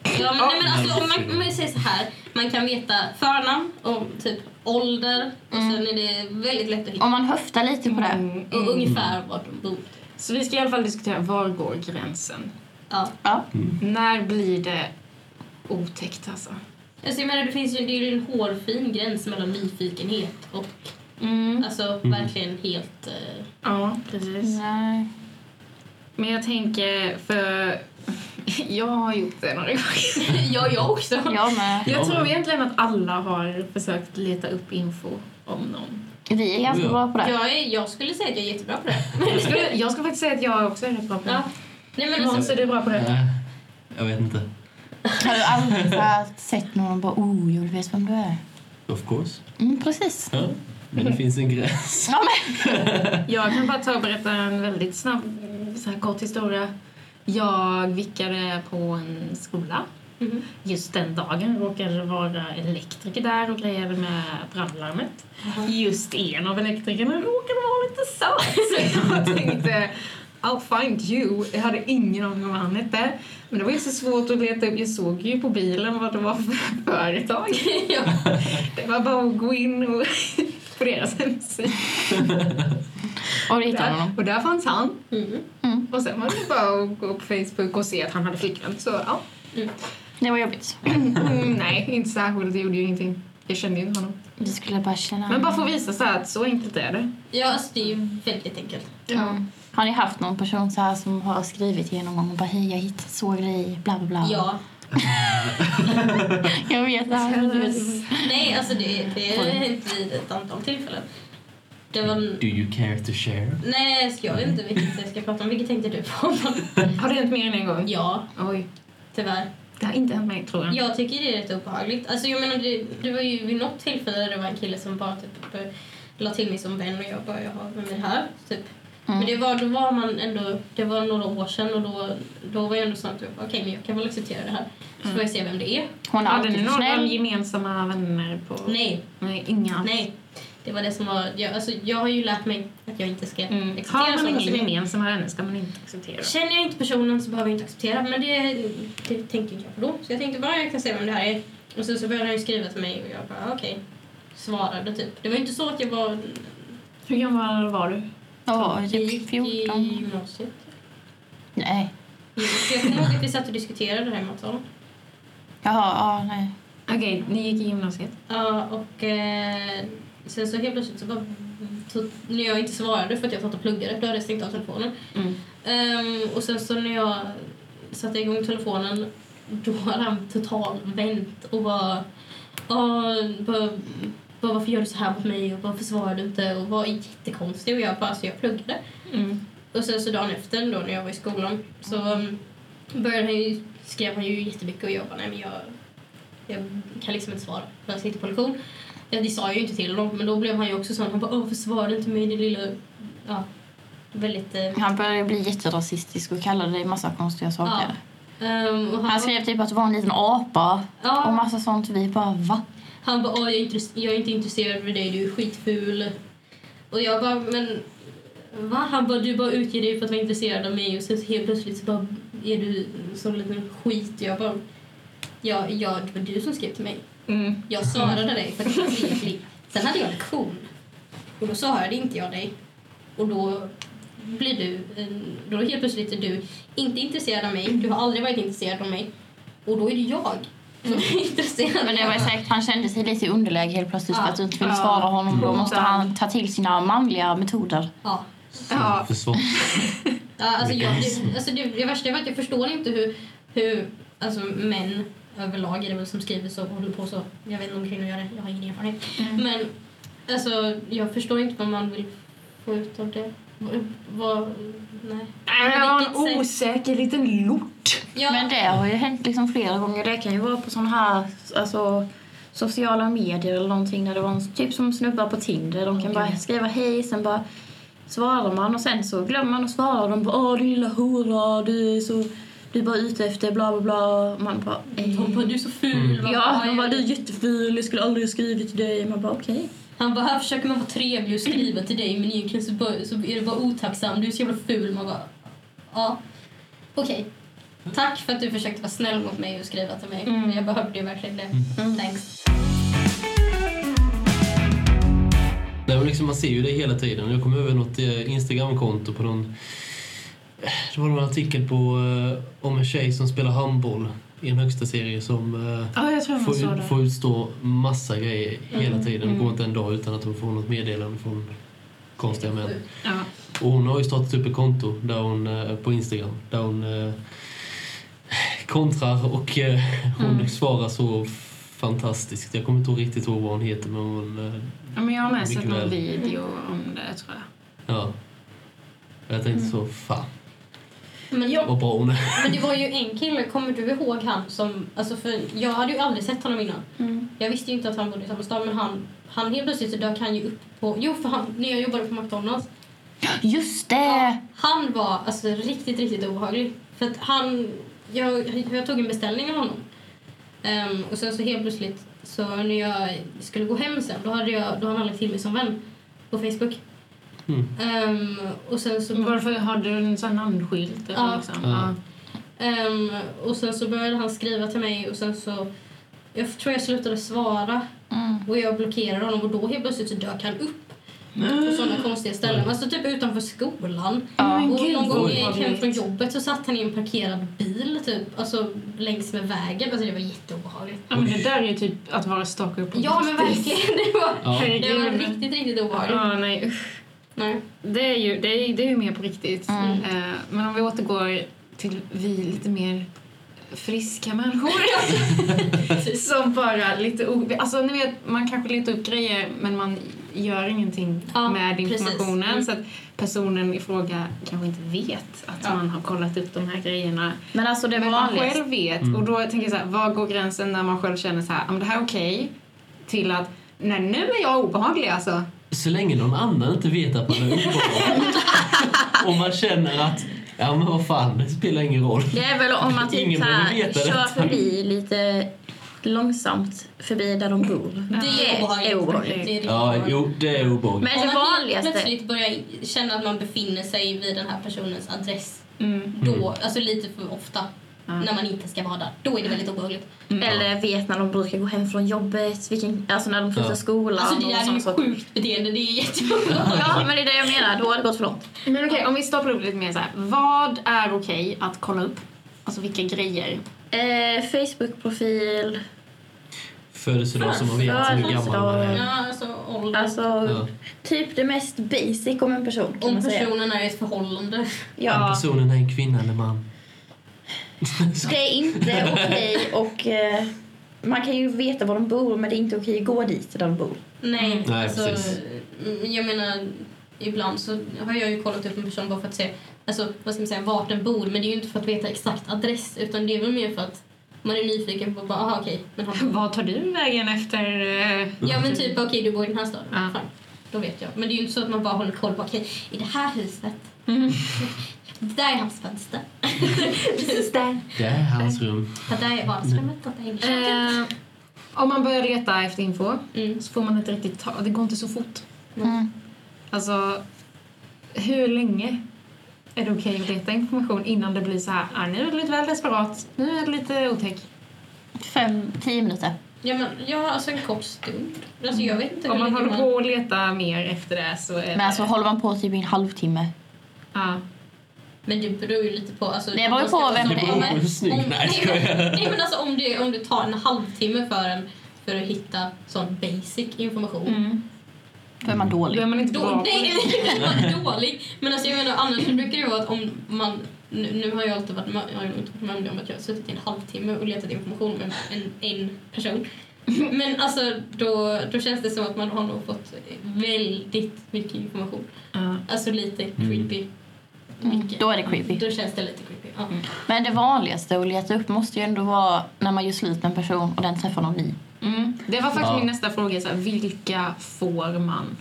[SPEAKER 4] Ja, men, nej, men alltså, om man,
[SPEAKER 3] precis.
[SPEAKER 4] om man säger så här. Man kan veta förnamn och typ ålder. Och sen är det väldigt lätt att hitta.
[SPEAKER 1] Om man höftar lite på det.
[SPEAKER 5] Mm.
[SPEAKER 4] Och ungefär var de bor.
[SPEAKER 5] Så vi ska i alla fall diskutera var går gränsen?
[SPEAKER 4] Ja.
[SPEAKER 1] Ja.
[SPEAKER 5] När blir det otäckt alltså?
[SPEAKER 4] Alltså, jag menar, det finns ju, det är ju en hårfin gräns mellan nyfikenhet och
[SPEAKER 1] Mm.
[SPEAKER 4] alltså, verkligen helt... eh, <laughs>
[SPEAKER 5] Ja, precis.
[SPEAKER 1] Nej.
[SPEAKER 5] Men jag tänker, för <laughs> jag har gjort det några gånger.
[SPEAKER 4] ja, jag också.
[SPEAKER 1] Jag med.
[SPEAKER 5] Jag
[SPEAKER 3] Ja.
[SPEAKER 5] tror egentligen att alla har försökt leta upp info om
[SPEAKER 4] <laughs>
[SPEAKER 5] någon.
[SPEAKER 1] Vi är ganska
[SPEAKER 3] Oh ja.
[SPEAKER 1] bra på det.
[SPEAKER 4] Jag, är, jag skulle säga att jag är jättebra på det.
[SPEAKER 5] Jag skulle, jag skulle faktiskt säga att jag också är rätt bra på det.
[SPEAKER 4] Ja. Nej, men
[SPEAKER 5] Måns,
[SPEAKER 4] alltså,
[SPEAKER 5] är du bra på det?
[SPEAKER 3] Nej, jag vet inte.
[SPEAKER 1] Har du aldrig så här sett någon och bara oh, jag vet vem du är?
[SPEAKER 3] Of course.
[SPEAKER 1] Mm, precis.
[SPEAKER 3] Ja. Men det finns en gräns.
[SPEAKER 1] Ja, men.
[SPEAKER 5] Jag kan bara ta och berätta en väldigt snabb, så här kort historia. Jag vickade på en skola.
[SPEAKER 4] Mhm.
[SPEAKER 5] Just den dagen råkade det vara elektriker där och grejade med brandlarmet. Just en av elektrikerna råkade vara lite söt. <laughs> Så jag tänkte, I'll find you. Jag hade ingen aning om vad han hette. Men det var ju så svårt att leta upp. Jag såg ju på bilen vad det var för <laughs> företag.
[SPEAKER 4] ja.
[SPEAKER 5] Det var bara att gå in och <laughs> på deras hemsida.
[SPEAKER 1] Och det hittade
[SPEAKER 5] Där,
[SPEAKER 1] honom.
[SPEAKER 5] och där fanns han.
[SPEAKER 4] mm.
[SPEAKER 5] Och sen var det bara att gå på Facebook och se att han hade flickvän. Så ja,
[SPEAKER 1] Det var jobbigt.
[SPEAKER 5] <laughs> Mm, nej, inte särskilt. Det gjorde ju ingenting. Jag kände ju inte honom.
[SPEAKER 1] Du skulle bara känna...
[SPEAKER 5] Men bara för att visa så här att så enkelt är det.
[SPEAKER 4] ja, alltså, det är ju väldigt enkelt.
[SPEAKER 1] Ja. Har ni haft någon person så här som har skrivit igenom någon och bara hej jag hittade så grej bla bla bla?
[SPEAKER 4] Ja.
[SPEAKER 1] Jag vet det här.
[SPEAKER 4] Nej, alltså det, det har hänt vid ett antal tillfällen. Det var...
[SPEAKER 3] Do you care to share?
[SPEAKER 4] Nej, ska jag vet inte vilket jag ska prata om. Vilket tänkte du på? <laughs>
[SPEAKER 5] Har det hänt mer än en gång?
[SPEAKER 4] ja,
[SPEAKER 5] Oj.
[SPEAKER 4] tyvärr.
[SPEAKER 5] Det har inte hänt mig, tror jag.
[SPEAKER 4] Jag tycker det är rätt obehagligt. Alltså jag menar, det, det var ju vid något tillfälle där det var en kille som bara typ eh, la till mig som vän och jag bara, jaha, vem är det här? Typ. Men
[SPEAKER 5] Mm.
[SPEAKER 4] det var, då var man ändå, det var några år sedan och då, då var jag ändå sånt, typ, okej men jag kan väl acceptera det här. Så får jag se vem det är.
[SPEAKER 1] Hon är
[SPEAKER 5] Hade ni
[SPEAKER 1] alltid
[SPEAKER 5] några
[SPEAKER 1] snäll.
[SPEAKER 5] gemensamma vänner på...
[SPEAKER 4] Nej,
[SPEAKER 5] Nej, inga alls.
[SPEAKER 4] nej. Det var det som var, jag, alltså jag har ju lärt mig att jag inte ska
[SPEAKER 5] Mm.
[SPEAKER 4] acceptera
[SPEAKER 5] Har man
[SPEAKER 4] sådana
[SPEAKER 5] ingen
[SPEAKER 4] saker.
[SPEAKER 5] gemensamma vänner ska man inte acceptera.
[SPEAKER 4] Känner jag inte personen så behöver jag inte acceptera. Men det, det tänkte inte jag på då. Så jag tänkte bara jag kan se vem det här är. Och sen så började han ju skriva till mig och jag bara "Ah, okej. Svarade typ. Det var inte så att jag var
[SPEAKER 5] Hur gammal var du?
[SPEAKER 1] Ja,
[SPEAKER 4] i
[SPEAKER 1] typ 14.
[SPEAKER 4] gymnasiet.
[SPEAKER 1] Nej.
[SPEAKER 4] Jo, för Jag kommer ihåg att vi satt och diskuterade det här i matsalen.
[SPEAKER 1] Jaha, ja nej.
[SPEAKER 5] Okej, ni gick i gymnasiet.
[SPEAKER 4] Ja, och eh, sen så helt plötsligt så bara... Så, när jag inte svarade för att jag satt och pluggade, då hade jag stängt av telefonen.
[SPEAKER 5] Mm.
[SPEAKER 4] Ehm, och sen så när jag satte igång telefonen, då hade han totalt vänt och bara... "Åh, bara, bara varför gör du så här mot mig och varför svarar du inte och var jättekonstig och jag bara så jag pluggade.
[SPEAKER 5] Mm.
[SPEAKER 4] Och sen så dagen efter då när jag var i skolan så
[SPEAKER 1] Mm.
[SPEAKER 4] um, började han ju, skrev han ju jättemycket och jag bara nej men jag, jag kan liksom inte svara för jag sitter på lektion. Ja, det sa jag ju inte till honom men då blev han ju också sån han bara åh varför svarar du inte mig din lilla, ja väldigt eh,
[SPEAKER 1] Han började bli jätterasistisk och kallade dig massa konstiga saker.
[SPEAKER 4] ehm, och
[SPEAKER 1] Han
[SPEAKER 4] han,
[SPEAKER 1] skrev typ att du var en liten apa och
[SPEAKER 4] ja,
[SPEAKER 1] massa sånt. Vi bara va?
[SPEAKER 4] han bara åh jag är, intress- jag är inte intresserad av dig du är skitful. Och jag bara men va? Han bara du bara utger dig för att vara intresserad av mig och sen så helt plötsligt så bara är du sån liten skit. Jag bara ja, ja det var du som skrev till mig.
[SPEAKER 5] Mm.
[SPEAKER 4] Jag svarade dig för att jag var trevlig. Sen hade jag lektion. Och då svarade inte jag dig. Och då blir du... eh, Då helt plötsligt är du inte intresserad av mig. Du har aldrig varit intresserad av mig. Och då är det jag som är <laughs> intresserad
[SPEAKER 1] Men det var ju säkert, han kände sig lite i underläge helt plötsligt för
[SPEAKER 4] Ja.
[SPEAKER 1] att du inte ville
[SPEAKER 5] Ja.
[SPEAKER 1] svara honom. Då måste
[SPEAKER 5] Mm.
[SPEAKER 1] han ta till sina manliga metoder.
[SPEAKER 4] Ja.
[SPEAKER 5] Ja.
[SPEAKER 3] Försvar.
[SPEAKER 4] Ja, Alltså, jag,
[SPEAKER 3] Mekanism.
[SPEAKER 4] det, alltså det, det värsta var att jag förstår inte hur, hur alltså, män överlag är det väl som skriver så och håller på så. Jag vet inte om kvinnor gör det, jag har ingen erfarenhet. Men alltså, jag förstår inte vad man vill få ut av det. Vad- Vad, nej.
[SPEAKER 5] Nej, men jag var en osäker liten lort.
[SPEAKER 4] Ja,
[SPEAKER 1] Men det har ju hänt liksom flera gånger. Det kan ju vara på sådana här alltså, sociala medier eller någonting där det var en, typ som snubbar på Tinder. De kan bara skriva hej, sen bara svarar man och sen så glömmer man att svara. De bara åh din lilla hora, du är så du är bara ute efter bla bla bla. Och Man bara, eh.
[SPEAKER 4] Hon bara, du är så ful. Man
[SPEAKER 1] Ja,
[SPEAKER 4] "Aj,
[SPEAKER 1] hon bara, du är jätteful, jag skulle aldrig ha skrivit till dig. Man bara, okej.
[SPEAKER 4] Han bara, här försöker man vara trevlig och skriva till dig men egentligen så, bara, så är du bara otacksam, du är så jävla ful. Man bara, ja, okej. Tack för att du försökte vara snäll mot mig och skriva till mig.
[SPEAKER 1] Mm.
[SPEAKER 4] men Jag behövde ju verkligen det. Thanks.
[SPEAKER 3] Nej, men liksom man ser ju det hela tiden. Jag kom över något eh, Instagramkonto på någon... Det var någon artikel på, eh, om en tjej som spelar handboll i en högsta serie som eh,
[SPEAKER 5] Ja, jag tror man sa
[SPEAKER 3] får,
[SPEAKER 5] det.
[SPEAKER 3] får utstå massa grejer hela tiden. Det
[SPEAKER 5] mm.
[SPEAKER 3] går inte en dag utan att hon får något meddelande från konstiga män.
[SPEAKER 5] Ja.
[SPEAKER 3] Och hon har ju startat upp ett konto där hon, eh, på Instagram där hon eh, kontrar och eh, hon
[SPEAKER 1] Mm.
[SPEAKER 3] svarar så fantastiskt. Jag kommer inte riktigt ihåg vad hon heter men hon... eh,
[SPEAKER 5] ja, men jag har med sett
[SPEAKER 3] Mycket
[SPEAKER 5] någon
[SPEAKER 3] väl.
[SPEAKER 5] video om det tror jag.
[SPEAKER 3] Ja. Jag tänkte så,
[SPEAKER 1] Mm.
[SPEAKER 3] fan
[SPEAKER 4] Men,
[SPEAKER 3] vad bra hon är.
[SPEAKER 4] men det var ju en kille, kommer du ihåg han som, alltså för jag hade ju aldrig sett honom innan. Jag visste ju inte att han bodde i samma stad men han, han helt plötsligt så dök han ju upp på, jo för han, när jag jobbade på McDonalds
[SPEAKER 1] Just
[SPEAKER 4] Ja,
[SPEAKER 1] det!
[SPEAKER 4] Eh, han var alltså riktigt, riktigt obehaglig. För att han, jag, jag tog en beställning av honom. Ehm, och sen så helt plötsligt, så när jag skulle gå hem sen, då hade, jag, då hade han lagt till mig som vän på Facebook.
[SPEAKER 3] Mm.
[SPEAKER 4] Ehm, och sen så...
[SPEAKER 5] Varför hade du en sån namnskylt? eller
[SPEAKER 4] Ja.
[SPEAKER 5] Liksom?
[SPEAKER 3] Ja.
[SPEAKER 4] Ehm, och sen så började han skriva till mig och sen så... Jag tror jag slutade svara
[SPEAKER 1] Mm.
[SPEAKER 4] och jag blockerade honom och då helt plötsligt så dök han upp på sådana konstiga ställen. Alltså typ utanför skolan.
[SPEAKER 1] Ja.
[SPEAKER 5] Men
[SPEAKER 4] Och
[SPEAKER 5] gud,
[SPEAKER 4] någon gång
[SPEAKER 5] vad
[SPEAKER 4] när jag gick hem
[SPEAKER 5] obehagligt.
[SPEAKER 4] från jobbet så satt han i en parkerad bil typ, alltså längs med vägen. Alltså det var jätteobehagligt.
[SPEAKER 5] Ja, men det där är ju typ att vara stalker på
[SPEAKER 4] Ja men verkligen, det var,
[SPEAKER 3] Ja.
[SPEAKER 4] det var riktigt, riktigt obehagligt.
[SPEAKER 5] Ja, nej usch.
[SPEAKER 4] Nej.
[SPEAKER 5] Det är ju, det är, det är ju mer på riktigt.
[SPEAKER 1] Mm.
[SPEAKER 5] Eh, men om vi återgår till vi lite mer
[SPEAKER 1] <laughs>
[SPEAKER 5] friska människor. Som bara lite o... Alltså ni vet, man kanske letar upp grejer men man gör ingenting
[SPEAKER 4] Ja,
[SPEAKER 5] med
[SPEAKER 4] precis.
[SPEAKER 5] informationen
[SPEAKER 4] Mm.
[SPEAKER 5] så att personen i fråga kanske inte vet att
[SPEAKER 4] Ja.
[SPEAKER 5] man har kollat upp de här grejerna.
[SPEAKER 1] Men alltså det
[SPEAKER 5] men man
[SPEAKER 1] vanligaste.
[SPEAKER 5] själv vet och då tänker jag så här, var går gränsen när man själv känner så här, "Ja, men det här är okej till att nej nu är jag obehaglig alltså.
[SPEAKER 3] Så länge någon annan inte vet att man är uppehållen och man känner att ja men vad fan, det spelar ingen roll.
[SPEAKER 1] Det är väl om man typ
[SPEAKER 3] Ingen
[SPEAKER 1] så
[SPEAKER 3] behöver
[SPEAKER 1] här,
[SPEAKER 3] veta
[SPEAKER 1] kör
[SPEAKER 3] detta.
[SPEAKER 1] förbi lite långsamt förbi där de bor.
[SPEAKER 4] Det är obehagligt.
[SPEAKER 1] är obehagligt.
[SPEAKER 4] Det är riktigt
[SPEAKER 3] Ja,
[SPEAKER 4] obehagligt.
[SPEAKER 3] jo, det är obehagligt.
[SPEAKER 1] Men
[SPEAKER 4] Om
[SPEAKER 1] det
[SPEAKER 4] man helt
[SPEAKER 1] vanligaste...
[SPEAKER 4] plötsligt börjar känna att man befinner sig vid den här personens adress
[SPEAKER 5] Mm.
[SPEAKER 4] då, alltså lite för ofta, när man inte ska vara där, då är det väldigt obehagligt.
[SPEAKER 1] Eller vet när de brukar gå hem från jobbet, vilken, alltså när de slutar
[SPEAKER 3] Ja.
[SPEAKER 1] skolan.
[SPEAKER 4] Alltså det
[SPEAKER 1] och
[SPEAKER 4] där är
[SPEAKER 1] sådana
[SPEAKER 4] ju
[SPEAKER 1] saker.
[SPEAKER 4] sjukt beteende, det är jätteobehagligt.
[SPEAKER 1] Ja, men det är det jag menar. Då har det gått för långt.
[SPEAKER 5] Men okej, om vi stoppar upp lite mer så här, vad är okej att kolla upp? Alltså vilka grejer?
[SPEAKER 1] Eh, Facebook-profil,
[SPEAKER 3] Födelsedag som man vet hur gammal man
[SPEAKER 1] Födelsedag.
[SPEAKER 3] är.
[SPEAKER 4] Ja, alltså ålder.
[SPEAKER 1] alltså
[SPEAKER 3] Ja.
[SPEAKER 1] typ det mest basic om en person kan
[SPEAKER 4] Om
[SPEAKER 1] man säga.
[SPEAKER 4] personen är i ett förhållande.
[SPEAKER 1] Ja.
[SPEAKER 3] Om personen är en kvinna eller man.
[SPEAKER 1] Det är
[SPEAKER 3] <laughs>
[SPEAKER 1] inte okej och eh, man kan ju veta var de bor men det är inte okej att gå dit där de bor.
[SPEAKER 4] Nej,
[SPEAKER 3] Nej,
[SPEAKER 4] alltså,
[SPEAKER 3] precis.
[SPEAKER 4] mm, jag menar ibland så har jag ju kollat upp en person bara för att se alltså, vad ska man säga, vart den bor men det är ju inte för att veta exakt adress utan det är väl mer för att man är nyfiken på bara, aha, okej, men han
[SPEAKER 5] Vad tar du vägen efter... eh,
[SPEAKER 3] Mm.
[SPEAKER 4] Ja men typ, okej du bor i den här staden,
[SPEAKER 5] Ja.
[SPEAKER 4] fan, då vet jag. Men det är ju inte så att man bara håller koll på, okej, i det här huset,
[SPEAKER 5] Mm.
[SPEAKER 4] där är hans fönster, <laughs>
[SPEAKER 1] Precis där.
[SPEAKER 3] Det är hans rum.
[SPEAKER 4] att där är vardagsrummet, att där är köket.
[SPEAKER 5] Eh, om man börjar leta efter info
[SPEAKER 4] Mm.
[SPEAKER 5] så får man inte riktigt ta... Det går inte så fort.
[SPEAKER 1] Mm.
[SPEAKER 5] Alltså, hur länge är det okej att leta information innan det blir så här, ah, nu är det lite väl desperat, nu är det lite otäck.
[SPEAKER 1] Fem, tio minuter.
[SPEAKER 4] Ja men, ja alltså en kort stund. Alltså jag vet inte
[SPEAKER 5] Om man
[SPEAKER 4] länge
[SPEAKER 5] håller på att leta mer efter det så är
[SPEAKER 1] Men
[SPEAKER 5] det...
[SPEAKER 1] alltså håller man på typ i en halvtimme.
[SPEAKER 5] Ja.
[SPEAKER 4] Men det beror ju lite på... Alltså,
[SPEAKER 1] Det beror ju
[SPEAKER 4] om man
[SPEAKER 1] på
[SPEAKER 4] ska-
[SPEAKER 1] vem
[SPEAKER 3] Det
[SPEAKER 1] det är.
[SPEAKER 3] beror på hur snygg...
[SPEAKER 4] Om,
[SPEAKER 3] Nej, jag
[SPEAKER 4] nej,
[SPEAKER 3] skojar.
[SPEAKER 4] men- nej men alltså om det, om det tar en halvtimme för en för att hitta sån basic information.
[SPEAKER 1] Mm. Då är man
[SPEAKER 5] Då
[SPEAKER 1] dålig.
[SPEAKER 5] är man inte bra
[SPEAKER 4] Då,
[SPEAKER 5] på
[SPEAKER 4] nej,
[SPEAKER 5] det.
[SPEAKER 4] nej, nej, dålig. Men alltså jag menar annars så brukar det vara att om man... Nu, nu har jag alltid varit med, jag har inte varit med om det, om att jag har suttit i en halvtimme och letat information om en, en, en person. Men alltså då, då känns det som att man har nog fått väldigt mycket information.
[SPEAKER 5] Ja.
[SPEAKER 4] Alltså lite
[SPEAKER 3] Mm.
[SPEAKER 4] creepy. Mycket.
[SPEAKER 1] Mm. Då är det creepy. Mm.
[SPEAKER 4] Då känns det lite creepy. Ja.
[SPEAKER 1] Men det vanligaste att leta upp måste ju ändå vara när man gör slut med en person och den träffar någon ny.
[SPEAKER 5] Mm. Det var faktiskt
[SPEAKER 3] Ja.
[SPEAKER 5] min nästa fråga, så här, vilka får man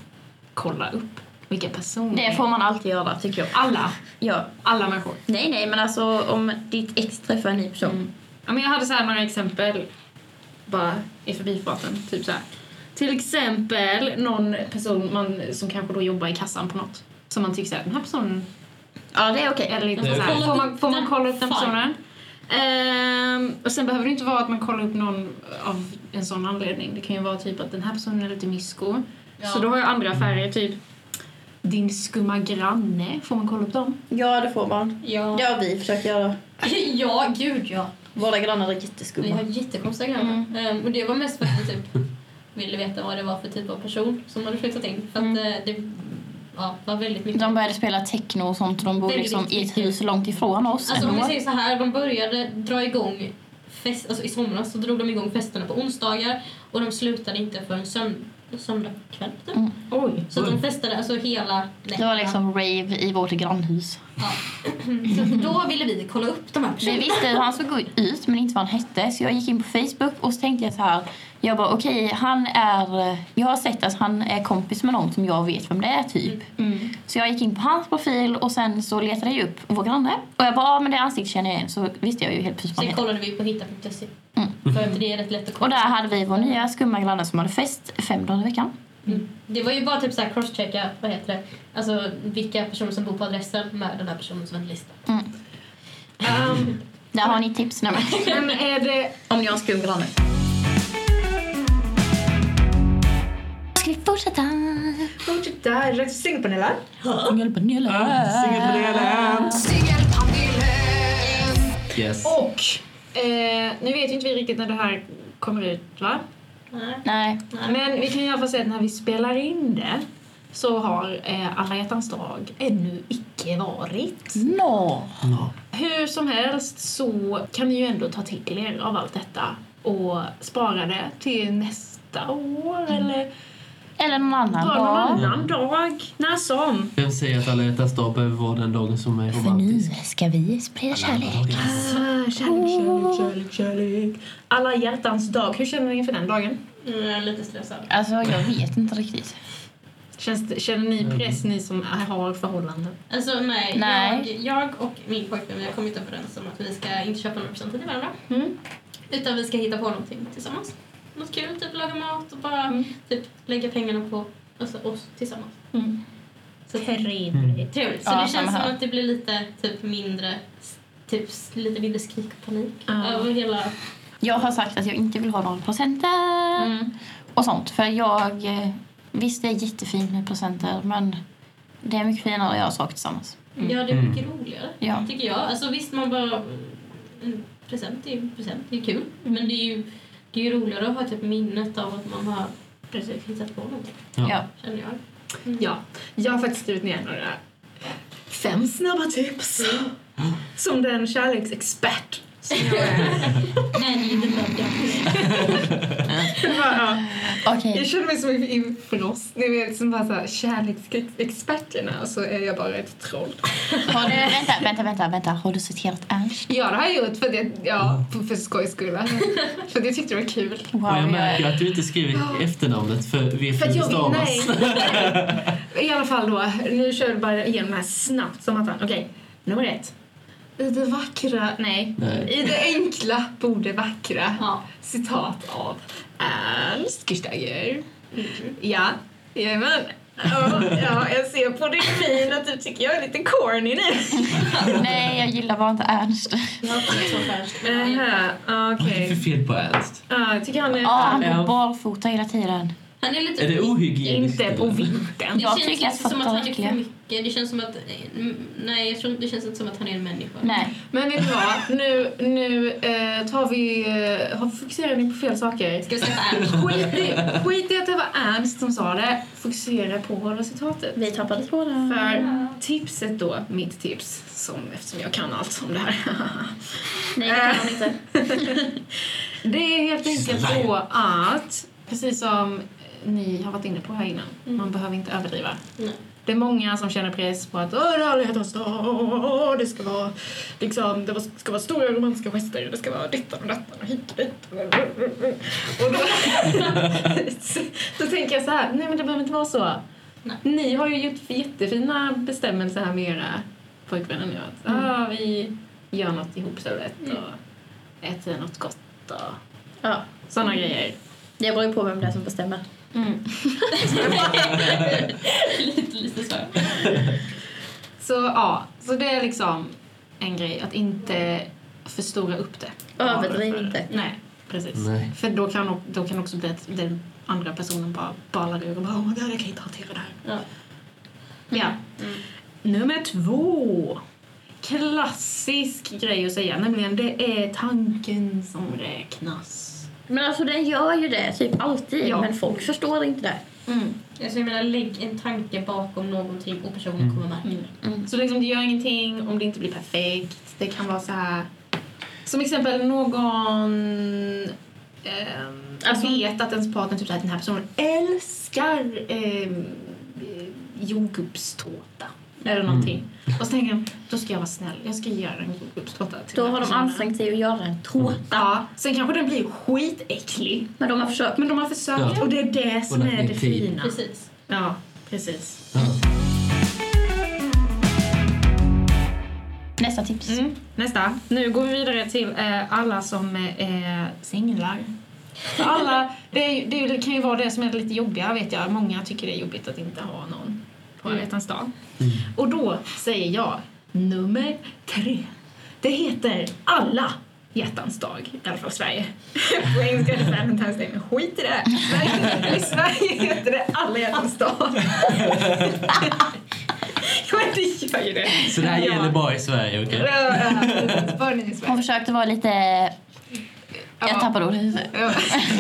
[SPEAKER 5] kolla upp? Vilka personer.
[SPEAKER 1] Det får man alltid göra, tycker jag. Ah,
[SPEAKER 5] Alla.
[SPEAKER 1] Ja.
[SPEAKER 5] Alla människor.
[SPEAKER 1] Nej, nej, men alltså om ditt ex träffar en ny person.
[SPEAKER 5] Mm. Ja, men jag hade så här några exempel bara i förbifarten. Typ så här. Till exempel någon person man, som kanske då jobbar i kassan på något. Som man tycker så här, den här personen
[SPEAKER 1] Ja, det är okej.
[SPEAKER 5] är lite
[SPEAKER 3] Det är
[SPEAKER 5] så här.
[SPEAKER 4] okej.
[SPEAKER 5] Får man, får man kolla upp den
[SPEAKER 4] Fine.
[SPEAKER 5] personen? Ehm, och sen behöver det inte vara att man kollar upp någon av en sån anledning. Det kan ju vara typ att den här personen är lite mysko.
[SPEAKER 4] Ja.
[SPEAKER 5] Så då har jag andra färger, typ din skumma granne. Får man kolla upp dem?
[SPEAKER 1] Ja, det får man.
[SPEAKER 4] Ja.
[SPEAKER 1] Det har vi försökt göra.
[SPEAKER 4] ja, gud ja.
[SPEAKER 1] Våra grannar är
[SPEAKER 4] Vi har
[SPEAKER 1] jätteskumma.
[SPEAKER 4] jättekonstiga grannar.
[SPEAKER 1] Mm.
[SPEAKER 4] Ehm, och det var mest för att vi typ ville veta vad det var för typ av person som hade flyttat in. För att
[SPEAKER 1] Mm.
[SPEAKER 4] eh, det ja, var väldigt mycket.
[SPEAKER 1] De började spela techno och sånt och de bor
[SPEAKER 4] Väldigt
[SPEAKER 1] liksom i ett
[SPEAKER 4] mycket.
[SPEAKER 1] hus långt ifrån oss.
[SPEAKER 4] Alltså om vi
[SPEAKER 1] ändå.
[SPEAKER 4] säger så här, de började dra igång fest, alltså i somras så drog de igång festerna på onsdagar och de slutade inte förrän sönd- söndag kväll typ.
[SPEAKER 1] Mm.
[SPEAKER 5] Oj.
[SPEAKER 4] Så att
[SPEAKER 3] Oj.
[SPEAKER 4] de festade alltså hela
[SPEAKER 1] Det var liksom rave i vårt grannhus.
[SPEAKER 4] Ja. <clears throat> Så att då ville vi kolla upp de här
[SPEAKER 1] Vi
[SPEAKER 4] personerna.
[SPEAKER 1] visste hur han såg ut men inte vad han hette så jag gick in på Facebook och så tänkte jag så här. Jag bara okej, han är... Jag har sett att han är kompis med någon som jag vet vem det är typ.
[SPEAKER 5] Mm.
[SPEAKER 1] Så jag gick in på hans profil och sen så letade jag upp vår granne. Och jag bara, ja men det ansiktet känner jag igen. Så visste jag ju helt precis vad han
[SPEAKER 4] Sen
[SPEAKER 1] hette.
[SPEAKER 4] kollade vi på hitta.se.
[SPEAKER 1] Mm.
[SPEAKER 4] E. För att det är rätt lätt att
[SPEAKER 1] Och
[SPEAKER 4] kolla.
[SPEAKER 1] där hade vi vår nya skumma granne som hade fest fem dagar i veckan.
[SPEAKER 4] Mm. Det var ju bara typ så här crosschecka, vad heter det? Alltså vilka personer som bor på adressen med den här personens vänlista.
[SPEAKER 5] Ehm,
[SPEAKER 1] Där har ni tips <laughs> nej, men.
[SPEAKER 5] men är det...
[SPEAKER 1] Om ni har en skum granne. Ska vi fortsätta?
[SPEAKER 5] Fortsätta, är det singelpaneler?
[SPEAKER 1] Singelpanelen.
[SPEAKER 3] Yes.
[SPEAKER 5] Och eh, nu vet ju inte vi riktigt när det här kommer ut va?
[SPEAKER 4] Nej.
[SPEAKER 1] Nej.
[SPEAKER 5] Men vi kan i alla fall säga att när vi spelar in det så har eh, alla hjärtans dag ännu icke varit.
[SPEAKER 1] Nå.
[SPEAKER 3] Ja.
[SPEAKER 5] Hur som helst så kan ni ju ändå ta till er av allt detta och spara det till nästa år eller
[SPEAKER 1] Eller någon annan
[SPEAKER 5] bara någon
[SPEAKER 1] dag.
[SPEAKER 5] annan dag. När som.
[SPEAKER 3] Vem säger att alla hjärtans dag behöver vara den dagen som är
[SPEAKER 1] För nu
[SPEAKER 3] romantisk?
[SPEAKER 1] ska vi sprida kärlek.
[SPEAKER 5] Ah, Kärlek, kärlek, kärlek, kärlek. Alla hjärtans dag. Hur känner ni inför den dagen?
[SPEAKER 4] Nu är Mm, jag lite stressad.
[SPEAKER 1] Alltså jag vet inte riktigt.
[SPEAKER 5] Känns, det- känner ni press, ni som har förhållanden?
[SPEAKER 4] Alltså nej,
[SPEAKER 1] Nej.
[SPEAKER 4] Jag, jag och min pojkvän vi har kommit överens om att vi ska inte köpa några presenter till varandra.
[SPEAKER 5] Mm.
[SPEAKER 4] Utan vi ska hitta på någonting tillsammans. Något kul, typ laga mat och bara
[SPEAKER 5] Mm.
[SPEAKER 4] typ lägga pengarna på alltså, oss tillsammans.
[SPEAKER 5] Mm.
[SPEAKER 4] Så
[SPEAKER 3] Mm.
[SPEAKER 4] trevligt. Så
[SPEAKER 1] Ja,
[SPEAKER 4] det
[SPEAKER 1] samma
[SPEAKER 4] känns som
[SPEAKER 1] här.
[SPEAKER 4] att det blir lite typ mindre typ lite mindre skrik och panik
[SPEAKER 5] Ja.
[SPEAKER 4] över hela...
[SPEAKER 1] Jag har sagt att jag inte vill ha några presenter och sånt. För jag... eh, Visst, det är jättefint med presenter men det är mycket finare att göra saker tillsammans.
[SPEAKER 5] Mm.
[SPEAKER 4] Ja, det är mycket roligare.
[SPEAKER 1] Ja.
[SPEAKER 4] Tycker jag. Alltså visst, man bara... En present är ju en present. Det är kul. Men det är ju, det är ju roligare att ha typ minnet av att man har precis hittat på någonting.
[SPEAKER 3] Ja.
[SPEAKER 1] Ja.
[SPEAKER 4] Känner jag.
[SPEAKER 5] Ja, jag har faktiskt skrivit ner några eh, fem snabba tips. Som den kärleksexpert som jag är.
[SPEAKER 4] Nej, det är inte nödvändigt.
[SPEAKER 5] Bara, ja.
[SPEAKER 1] Okej.
[SPEAKER 5] Jag känner mig som i- i Frost, ni vet som bara så här, kärleksexperterna och så är jag bara ett troll.
[SPEAKER 1] Har du, vänta, vänta, vänta, vänta. Har du citerat Ernst?
[SPEAKER 5] Ja, det har jag gjort för, det, ja, för, för skojs skull. För det tyckte det var kul.
[SPEAKER 1] Wow,
[SPEAKER 3] Och jag
[SPEAKER 1] jag-
[SPEAKER 3] märker att du inte skriver efternamnet för vet
[SPEAKER 5] För
[SPEAKER 3] hur
[SPEAKER 5] att
[SPEAKER 3] det
[SPEAKER 5] jag vill,
[SPEAKER 3] stavas.
[SPEAKER 5] nej. I alla fall då, nu kör vi bara igenom det här snabbt som att han, okej, nummer ett. I det vackra, nej,
[SPEAKER 3] Nej.
[SPEAKER 5] i det enkla bor det vackra.
[SPEAKER 4] Ja.
[SPEAKER 5] Citat av Ernst Gustager. Ja, jajamän. Ja, ja, jag ser på ditt min att du tycker jag är lite corny nu.
[SPEAKER 1] Nej, jag gillar bara inte Ernst.
[SPEAKER 4] Jag har inte så färskt.
[SPEAKER 5] Aha,
[SPEAKER 3] Vad är det
[SPEAKER 5] Okej. Ah.
[SPEAKER 3] för fel på Ernst?
[SPEAKER 5] Ja, jag tycker han är
[SPEAKER 1] Ja, Ah, han
[SPEAKER 5] härlig.
[SPEAKER 1] går barfota hela tiden.
[SPEAKER 4] Han är lite...
[SPEAKER 3] Är det ohygieniskt?
[SPEAKER 5] Inte på
[SPEAKER 3] eller?
[SPEAKER 5] vintern.
[SPEAKER 4] Det
[SPEAKER 1] Jag
[SPEAKER 4] känns
[SPEAKER 1] tycker
[SPEAKER 4] inte
[SPEAKER 1] att
[SPEAKER 4] som
[SPEAKER 1] fattar
[SPEAKER 4] att han är
[SPEAKER 1] verkligen.
[SPEAKER 4] för mycket. Det känns som att... mm, Nej, jag tror inte... Det känns inte som att han är en människa.
[SPEAKER 1] Nej.
[SPEAKER 5] Men vet du vad? Nu, nu eh, tar vi... Eh, har- fokuserar ni på fel saker?
[SPEAKER 4] Ska vi släppa Ernst?
[SPEAKER 3] <laughs>
[SPEAKER 5] Skit i, skit i att det var Ernst som sa det. Fokusera på själva citatet.
[SPEAKER 1] Vi tappade tråden.
[SPEAKER 5] För tipset då, mitt tips, som, eftersom jag kan allt om det här. <laughs>
[SPEAKER 1] Nej, det kan han inte.
[SPEAKER 5] det är helt
[SPEAKER 3] She's
[SPEAKER 5] enkelt
[SPEAKER 3] a liar.
[SPEAKER 5] så att, precis som ni har varit inne på här innan,
[SPEAKER 1] Mm.
[SPEAKER 5] man behöver inte överdriva.
[SPEAKER 4] Nej.
[SPEAKER 5] Det är många som känner press på att Åh, det är alla hjärtans dag, åh, det ska vara liksom, det var- ska vara stora romantiska gester, det ska vara detta och detta och hit och dit. <laughs> Och då, då tänker jag så här, nej men det behöver inte vara så.
[SPEAKER 4] Nej.
[SPEAKER 5] Ni har ju gjort jättefina bestämmelser här med era pojkvänner nu. Att ah, vi gör något ihop så lätt och äter något gott och
[SPEAKER 1] Ja.
[SPEAKER 5] sådana grejer.
[SPEAKER 1] Det beror ju på vem det är som bestämmer.
[SPEAKER 4] Mm.
[SPEAKER 1] <laughs>
[SPEAKER 4] lite, lite så.
[SPEAKER 5] Så ja, så det är liksom en grej att inte förstora upp det.
[SPEAKER 1] Överdriv inte.
[SPEAKER 5] Nej, precis.
[SPEAKER 3] Nej.
[SPEAKER 5] För då kan, o- då kan det också bli att den andra personen bara balar ur och bara oh my god, jag kan inte hantera det här.
[SPEAKER 4] Ja.
[SPEAKER 5] Ja.
[SPEAKER 1] Mm.
[SPEAKER 5] Nummer två. Klassisk grej att säga, nämligen det är tanken som räknas.
[SPEAKER 1] Men alltså den gör ju det typ alltid.
[SPEAKER 5] Ja.
[SPEAKER 1] Men folk förstår inte det.
[SPEAKER 4] Alltså, jag menar, lägg en tanke bakom någonting och personen
[SPEAKER 3] Mm.
[SPEAKER 4] kommer märka det.
[SPEAKER 5] Så liksom, det gör ingenting om det inte blir perfekt. Det kan vara så här... Som exempel, någon ehm,
[SPEAKER 1] Alltså-
[SPEAKER 5] vet att ens partner typ så här, den här personen älskar ehm, eh, jordgubbstårta. Eller
[SPEAKER 3] Mm.
[SPEAKER 5] någonting. Och så tänker de, då ska jag vara snäll. Jag ska göra en jordgubbstårta till
[SPEAKER 1] Då
[SPEAKER 5] den här
[SPEAKER 1] har de
[SPEAKER 5] personen.
[SPEAKER 1] ansträngt sig att göra en tårta.
[SPEAKER 5] Ja, sen kanske den blir skitäcklig.
[SPEAKER 1] Men de har försökt.
[SPEAKER 5] Men de har försökt
[SPEAKER 3] Ja.
[SPEAKER 5] och det är det som
[SPEAKER 3] lagt
[SPEAKER 5] är
[SPEAKER 3] ner
[SPEAKER 5] det
[SPEAKER 3] tid.
[SPEAKER 5] fina.
[SPEAKER 4] Precis.
[SPEAKER 5] Ja, precis.
[SPEAKER 3] Ja.
[SPEAKER 1] Nästa tips.
[SPEAKER 5] Mm. Nästa. Nu går vi vidare till eh, alla som eh, är singlar. För Alla, det, är, ju- det, är ju- det kan ju vara det som är lite jobbiga, vet jag. Många tycker det är jobbigt att inte ha någon på alla hjärtans dag.
[SPEAKER 3] Mm.
[SPEAKER 5] Och då säger jag nummer tre. Det heter alla hjärtans dag, i alla fall i Sverige. <laughs> På engelska är det Valentine's Day, men skit i det. Men I Sverige heter det alla hjärtans dag. <laughs> Ja, men det gör ju det.
[SPEAKER 3] Så det här
[SPEAKER 5] Ja.
[SPEAKER 3] gäller bara i Sverige, okej?
[SPEAKER 5] Barnen i
[SPEAKER 1] Hon
[SPEAKER 5] Sverige.
[SPEAKER 1] försökte vara lite... Jag tappade ordet. i huvudet.
[SPEAKER 5] Ja.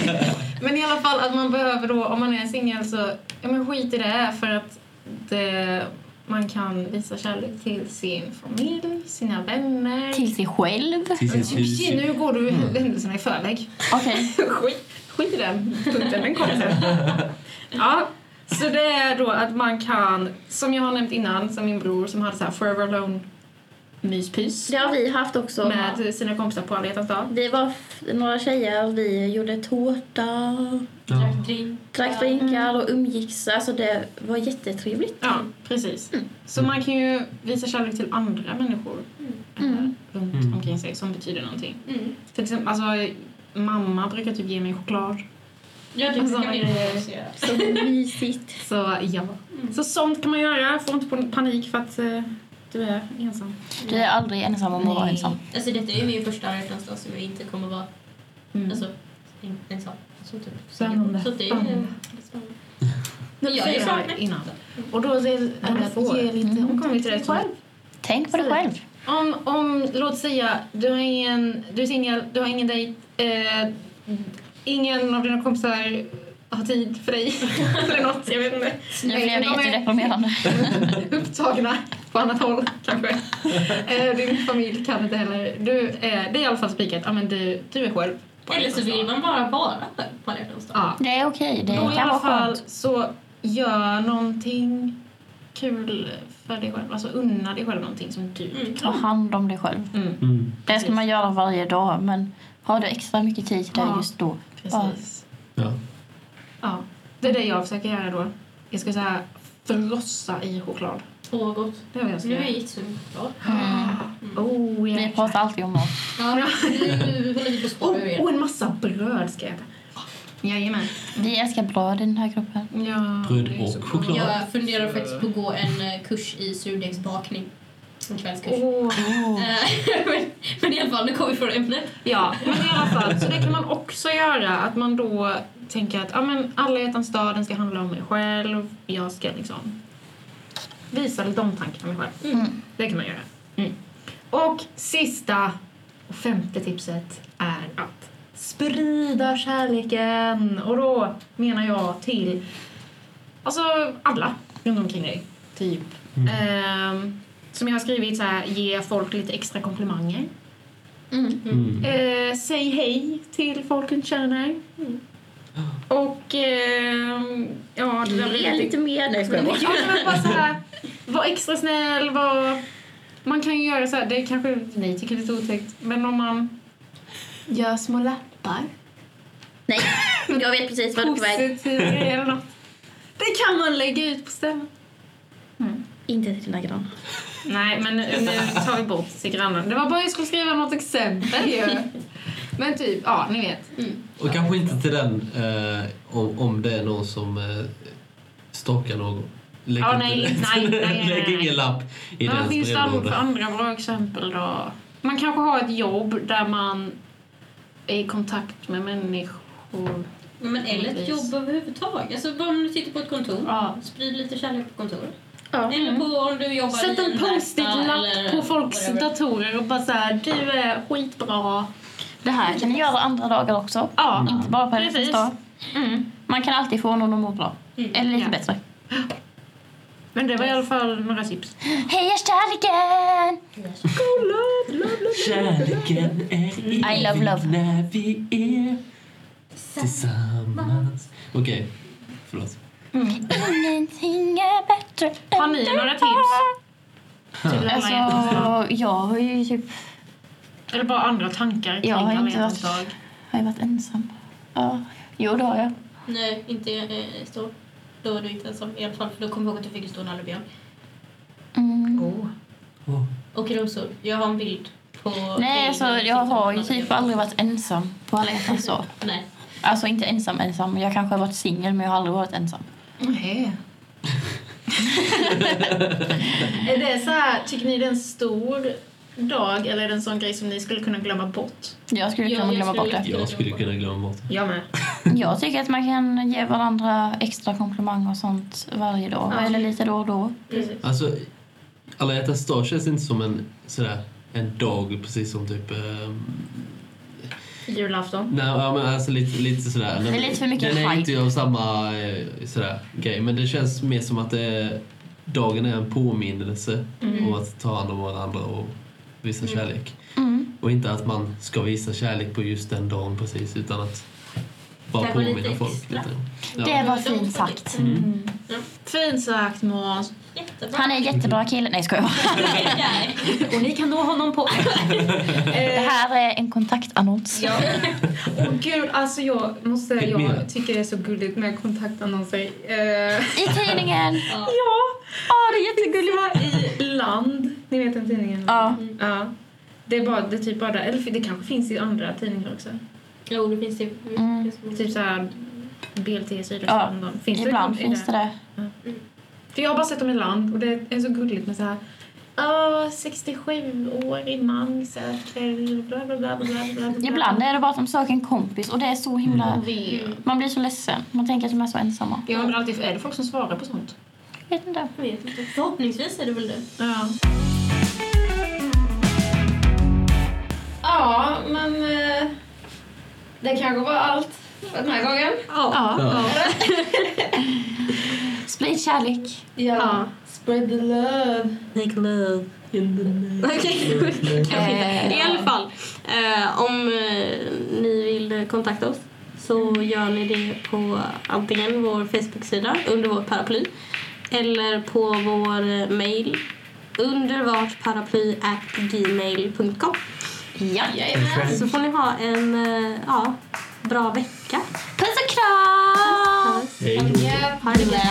[SPEAKER 5] <laughs> men i alla fall att man behöver då, om man är singel så, ja men skit i det för att det, man kan visa kärlek till sin familj, sina vänner.
[SPEAKER 1] Till sig själv.
[SPEAKER 3] Till sitt hus.
[SPEAKER 5] Shit, nu går du händelserna i förväg.
[SPEAKER 1] Okej.
[SPEAKER 5] <laughs> skit, skit i den punkten, den kommer sen. <laughs> Ja, så det är då att man kan, som jag har nämnt innan, som min bror som hade så här forever alone myspys
[SPEAKER 1] Det har vi haft också.
[SPEAKER 5] med sina kompisar på alla hjärtans dag.
[SPEAKER 1] Vi var f- några tjejer och vi gjorde tårta,
[SPEAKER 3] Ja.
[SPEAKER 4] Drack drink.
[SPEAKER 1] drack drinkar och umgicks. Alltså det var jättetrevligt.
[SPEAKER 5] Ja, precis. Så man kan ju visa kärlek till andra människor
[SPEAKER 1] Mm.
[SPEAKER 5] eh, runt
[SPEAKER 3] Mm.
[SPEAKER 5] omkring sig som betyder någonting.
[SPEAKER 4] Mm.
[SPEAKER 5] Till exempel, alltså, mamma brukar typ ge mig choklad.
[SPEAKER 4] Ja, det
[SPEAKER 5] Alltså,
[SPEAKER 4] brukar vi
[SPEAKER 5] eh,
[SPEAKER 4] också göra.
[SPEAKER 1] <laughs> Så mysigt.
[SPEAKER 5] Så ja. Så sånt kan man göra. Få inte panik för att eh, du är ensam.
[SPEAKER 1] Du är aldrig ensam om att vara
[SPEAKER 5] Nej.
[SPEAKER 1] ensam.
[SPEAKER 4] Alltså detta är ju min första alla hjärtans dag som jag inte kommer vara
[SPEAKER 5] Mm.
[SPEAKER 4] alltså, en- ensam. Så typ.
[SPEAKER 5] Spännande.
[SPEAKER 4] Så det är
[SPEAKER 5] Spännande.
[SPEAKER 4] spännande.
[SPEAKER 5] Mm. Nu
[SPEAKER 4] Ja, jag saknar.
[SPEAKER 5] innan. Och då är det
[SPEAKER 1] Ja, det får.
[SPEAKER 5] ge lite
[SPEAKER 1] Mm.
[SPEAKER 5] omtanke till dig själv.
[SPEAKER 1] Tänk på dig själv.
[SPEAKER 5] Om, om, låt säga, du har ingen, du är singel, du har ingen dejt, eh, ingen av dina kompisar har tid för dig <laughs> eller något, jag vet inte.
[SPEAKER 1] Nu
[SPEAKER 5] Nej,
[SPEAKER 1] blev det
[SPEAKER 5] de är-
[SPEAKER 1] jättedeprimerande.
[SPEAKER 5] upptagna på annat håll
[SPEAKER 3] <laughs>
[SPEAKER 5] kanske. Eh, Din familj kan inte heller. Du, eh, det är i alla fall spikat. Ja, men du, du är själv. på
[SPEAKER 4] Eller så
[SPEAKER 5] alla
[SPEAKER 4] vill
[SPEAKER 5] dagar.
[SPEAKER 4] man bara vara själv på alla hjärtans dag.
[SPEAKER 5] Ja.
[SPEAKER 1] Det är okej. Det
[SPEAKER 5] Då i
[SPEAKER 1] kan vara
[SPEAKER 5] alla fall
[SPEAKER 1] skönt.
[SPEAKER 5] så gör någonting kul för dig själv. Alltså unna dig själv någonting som du
[SPEAKER 4] Mm.
[SPEAKER 1] Ta hand om dig själv.
[SPEAKER 5] Mm,
[SPEAKER 3] Mm.
[SPEAKER 1] Det ska man göra varje dag, men har du extra mycket tid till det
[SPEAKER 5] Ja.
[SPEAKER 1] just då?
[SPEAKER 5] precis.
[SPEAKER 3] Ja.
[SPEAKER 5] Ja. Det är det jag försöker göra då. Jag ska säga frossa i choklad.
[SPEAKER 4] Åh, gott.
[SPEAKER 5] Det är vad jag ska
[SPEAKER 4] Nu är jag
[SPEAKER 5] göra. Ah.
[SPEAKER 4] jättesugen på choklad.
[SPEAKER 5] Oh,
[SPEAKER 1] Vi
[SPEAKER 5] jäklar.
[SPEAKER 1] pratar alltid om mat.
[SPEAKER 4] Ja, nu håller vi på att
[SPEAKER 5] oh,
[SPEAKER 4] spåra ur igen.
[SPEAKER 5] oh, en massa bröd ska jag äta. Jajamän.
[SPEAKER 1] Vi älskar bröd i den här gruppen.
[SPEAKER 5] Ja,
[SPEAKER 3] Bröd
[SPEAKER 5] det är
[SPEAKER 3] och
[SPEAKER 5] så bra.
[SPEAKER 3] choklad.
[SPEAKER 4] <laughs> Jag funderar faktiskt på att gå en eh, kurs i surdegsbakning. En kvällskurs.
[SPEAKER 5] Åh.
[SPEAKER 4] Eh, <laughs> men, men i alla fall, nu kommer vi från ämnet.
[SPEAKER 5] Ja, men i alla fall. Så det kan man också göra. Att man då tänker att ja, men alla hjärtans dag, den ska handla om mig själv. Jag ska liksom visa lite omtanke om mig själv.
[SPEAKER 1] Mm.
[SPEAKER 5] Det kan man göra. Mm. Och sista och femte tipset är att sprida kärleken. Och då menar jag till alltså alla runt omkring dig. Typ.
[SPEAKER 3] Mm.
[SPEAKER 5] Ehm, som jag har skrivit så här, ge folk lite extra komplimanger.
[SPEAKER 3] Mm.
[SPEAKER 5] Eh, säg hej till folk du inte känner. Mm. Och... ehm, ja, det där
[SPEAKER 1] Ge lite mer. Nej, skojar bara.
[SPEAKER 5] Ja, men bara så här, var extra snäll, var... Man kan ju göra så här, det kanske ni tycker är lite otäckt, men om man gör små lappar,
[SPEAKER 1] Nej, jag vet precis vad du är på väg.
[SPEAKER 5] positiva grejer eller något. Det
[SPEAKER 1] kan man lägga ut på stämman.
[SPEAKER 5] Mm.
[SPEAKER 1] Inte till dina grannar.
[SPEAKER 5] Nej, men nu, nu tar vi bort till grannen. Det var bara jag skulle skriva något exempel ju. Men typ, ja, ni vet.
[SPEAKER 3] Och kanske inte till den eh, om, om det är någon som eh, stalkar någon. Lägg
[SPEAKER 5] Ja,
[SPEAKER 3] inte-
[SPEAKER 5] nej, nej, nej,
[SPEAKER 3] <laughs>
[SPEAKER 5] nej,
[SPEAKER 3] Lägg
[SPEAKER 5] nej.
[SPEAKER 3] ingen lapp i
[SPEAKER 5] Men vad
[SPEAKER 3] deras
[SPEAKER 5] finns det an- för
[SPEAKER 3] brevlåda.
[SPEAKER 5] andra bra exempel då? Man kanske har ett jobb där man är i kontakt med människor.
[SPEAKER 4] Men eller ett
[SPEAKER 5] Precis.
[SPEAKER 4] jobb överhuvudtaget. Alltså bara om du sitter på ett kontor.
[SPEAKER 5] Ja.
[SPEAKER 4] Sprid lite kärlek på kontoret.
[SPEAKER 1] Ja.
[SPEAKER 4] Eller på om du jobbar
[SPEAKER 5] Mm. Sätt en
[SPEAKER 4] i verkstad
[SPEAKER 5] post-it-lapp på folks
[SPEAKER 4] whatever.
[SPEAKER 5] datorer och bara så här, du är skitbra.
[SPEAKER 1] Det här kan ni göra andra dagar också.
[SPEAKER 5] Ja,
[SPEAKER 3] Mm.
[SPEAKER 1] Inte bara på
[SPEAKER 5] Precis.
[SPEAKER 1] en dag.
[SPEAKER 5] Mm.
[SPEAKER 1] Man kan alltid få någon att må bra.
[SPEAKER 4] Mm.
[SPEAKER 1] Eller lite
[SPEAKER 5] Ja.
[SPEAKER 1] bättre.
[SPEAKER 5] Men det var i alla fall några tips.
[SPEAKER 1] Heja kärleken!
[SPEAKER 3] Kärleken är
[SPEAKER 5] Mm.
[SPEAKER 1] I love love.
[SPEAKER 3] evig när vi är tillsammans. Okej, förlåt.
[SPEAKER 1] Mm. Ingenting är bättre än
[SPEAKER 5] Har ni
[SPEAKER 1] du
[SPEAKER 5] några tips?
[SPEAKER 1] är.
[SPEAKER 5] Typ lämna hjärtat.
[SPEAKER 1] Alltså, jag har ju typ
[SPEAKER 5] Eller bara andra tankar kring
[SPEAKER 1] Jag har
[SPEAKER 5] alla
[SPEAKER 1] inte
[SPEAKER 5] hjärtans
[SPEAKER 1] varit-
[SPEAKER 5] dag.
[SPEAKER 1] har jag varit ensam. Ja. Jo, det har jag.
[SPEAKER 4] Nej, inte eh, stor. Då var du inte ensam. I alla fall, för då kommer jag ihåg att jag fick en stor nallebjörn.
[SPEAKER 1] Mm.
[SPEAKER 5] Oh.
[SPEAKER 3] Åh,
[SPEAKER 4] Och rosor. Jag har en bild på...
[SPEAKER 1] Nej, alltså, jag har ju typ
[SPEAKER 4] aldrig...
[SPEAKER 1] aldrig varit ensam på alla hjärtans dag.
[SPEAKER 4] Nej.
[SPEAKER 1] Alltså inte ensam ensam. Jag kanske har varit singel men jag har aldrig varit ensam.
[SPEAKER 5] <laughs> Nej. är det så här, tycker ni det är en stor dag eller är det en sån grej som ni skulle kunna glömma bort?
[SPEAKER 1] Jag skulle
[SPEAKER 4] Ja,
[SPEAKER 1] kunna
[SPEAKER 4] jag
[SPEAKER 1] glömma bort det.
[SPEAKER 3] Jag skulle kunna glömma bort det.
[SPEAKER 5] Jag med.
[SPEAKER 1] Jag tycker att man kan ge varandra extra komplimanger och sånt varje dag.
[SPEAKER 5] Ja.
[SPEAKER 1] Eller lite då och då.
[SPEAKER 5] Precis.
[SPEAKER 3] Alltså, alla hjärtans dag känns inte som en, sådär, en dag precis som typ... Eh,
[SPEAKER 5] Julafton.
[SPEAKER 3] nej, ja, men alltså lite, lite sådär.
[SPEAKER 1] Det är lite för mycket
[SPEAKER 3] Den är
[SPEAKER 1] hype.
[SPEAKER 3] inte av samma eh, sådär, grej, men det känns mer som att det är, dagen är en påminnelse om att ta hand om varandra och visa kärlek.
[SPEAKER 1] Mm.
[SPEAKER 3] Och inte att man ska visa kärlek på just den dagen precis, utan att bara
[SPEAKER 4] Kanske lite
[SPEAKER 3] påminna folk
[SPEAKER 4] extra.
[SPEAKER 3] lite. Ja.
[SPEAKER 1] Det var
[SPEAKER 4] De-
[SPEAKER 1] fint sagt.
[SPEAKER 5] Mm. Fint sagt Måns.
[SPEAKER 4] Jättebra.
[SPEAKER 1] Han är en jättebra kille. Nej skojar.
[SPEAKER 4] Nej.
[SPEAKER 5] Och ni kan nå honom <laughs> på... Eh,
[SPEAKER 1] Det här är en kontaktannons.
[SPEAKER 4] Ja.
[SPEAKER 5] Åh gud, alltså jag måste säga,
[SPEAKER 3] Fick mer?
[SPEAKER 5] jag tycker det är så gulligt med kontaktannonser. Eh,
[SPEAKER 1] I tidningen!
[SPEAKER 4] Ja.
[SPEAKER 5] ja,
[SPEAKER 1] Åh det är jättegulligt.
[SPEAKER 5] i Land. Ni vet den tidningen?
[SPEAKER 1] Ja.
[SPEAKER 5] Ja. Det är, bara, det är typ bara där. Eller det kanske finns i andra tidningar också.
[SPEAKER 4] Jo, det finns det.
[SPEAKER 1] Mm.
[SPEAKER 5] Typ såhär BLT Sydöstlanden. Ja, finns det
[SPEAKER 1] Ibland
[SPEAKER 5] i
[SPEAKER 1] finns det det.
[SPEAKER 5] För jag har bara sett dem i land och det är så gulligt med så här. Ja, 67-årig man söker bla bla bla bla bla bla. bla."
[SPEAKER 1] Ibland är det bara att de söker en kompis och det är så himla...
[SPEAKER 5] Jag vet.
[SPEAKER 1] Man blir så ledsen. Man tänker att de är så ensamma.
[SPEAKER 5] Mm. Jag undrar alltid, är det folk som svarar på sånt?
[SPEAKER 1] Jag vet inte.
[SPEAKER 4] Jag vet inte. Förhoppningsvis är det väl det.
[SPEAKER 5] Ja. Ja, men eh, det kanske var allt för den här gången.
[SPEAKER 1] Ja.
[SPEAKER 3] Ja.
[SPEAKER 1] Sprid kärlek.
[SPEAKER 5] Ja.
[SPEAKER 4] Spread the love.
[SPEAKER 3] Make love in the night.
[SPEAKER 4] Okej, kanske inte.
[SPEAKER 1] Eh,
[SPEAKER 4] I alla fall, eh, om eh, ni vill kontakta oss så gör ni det på antingen vår Facebook-sida under vårt paraply eller på vår eh, mail under vårt paraply at gmail.com.
[SPEAKER 1] Ja.
[SPEAKER 4] Så får ni ha en eh, ja, bra vecka.
[SPEAKER 1] Puss och kram!
[SPEAKER 4] Ha det bra.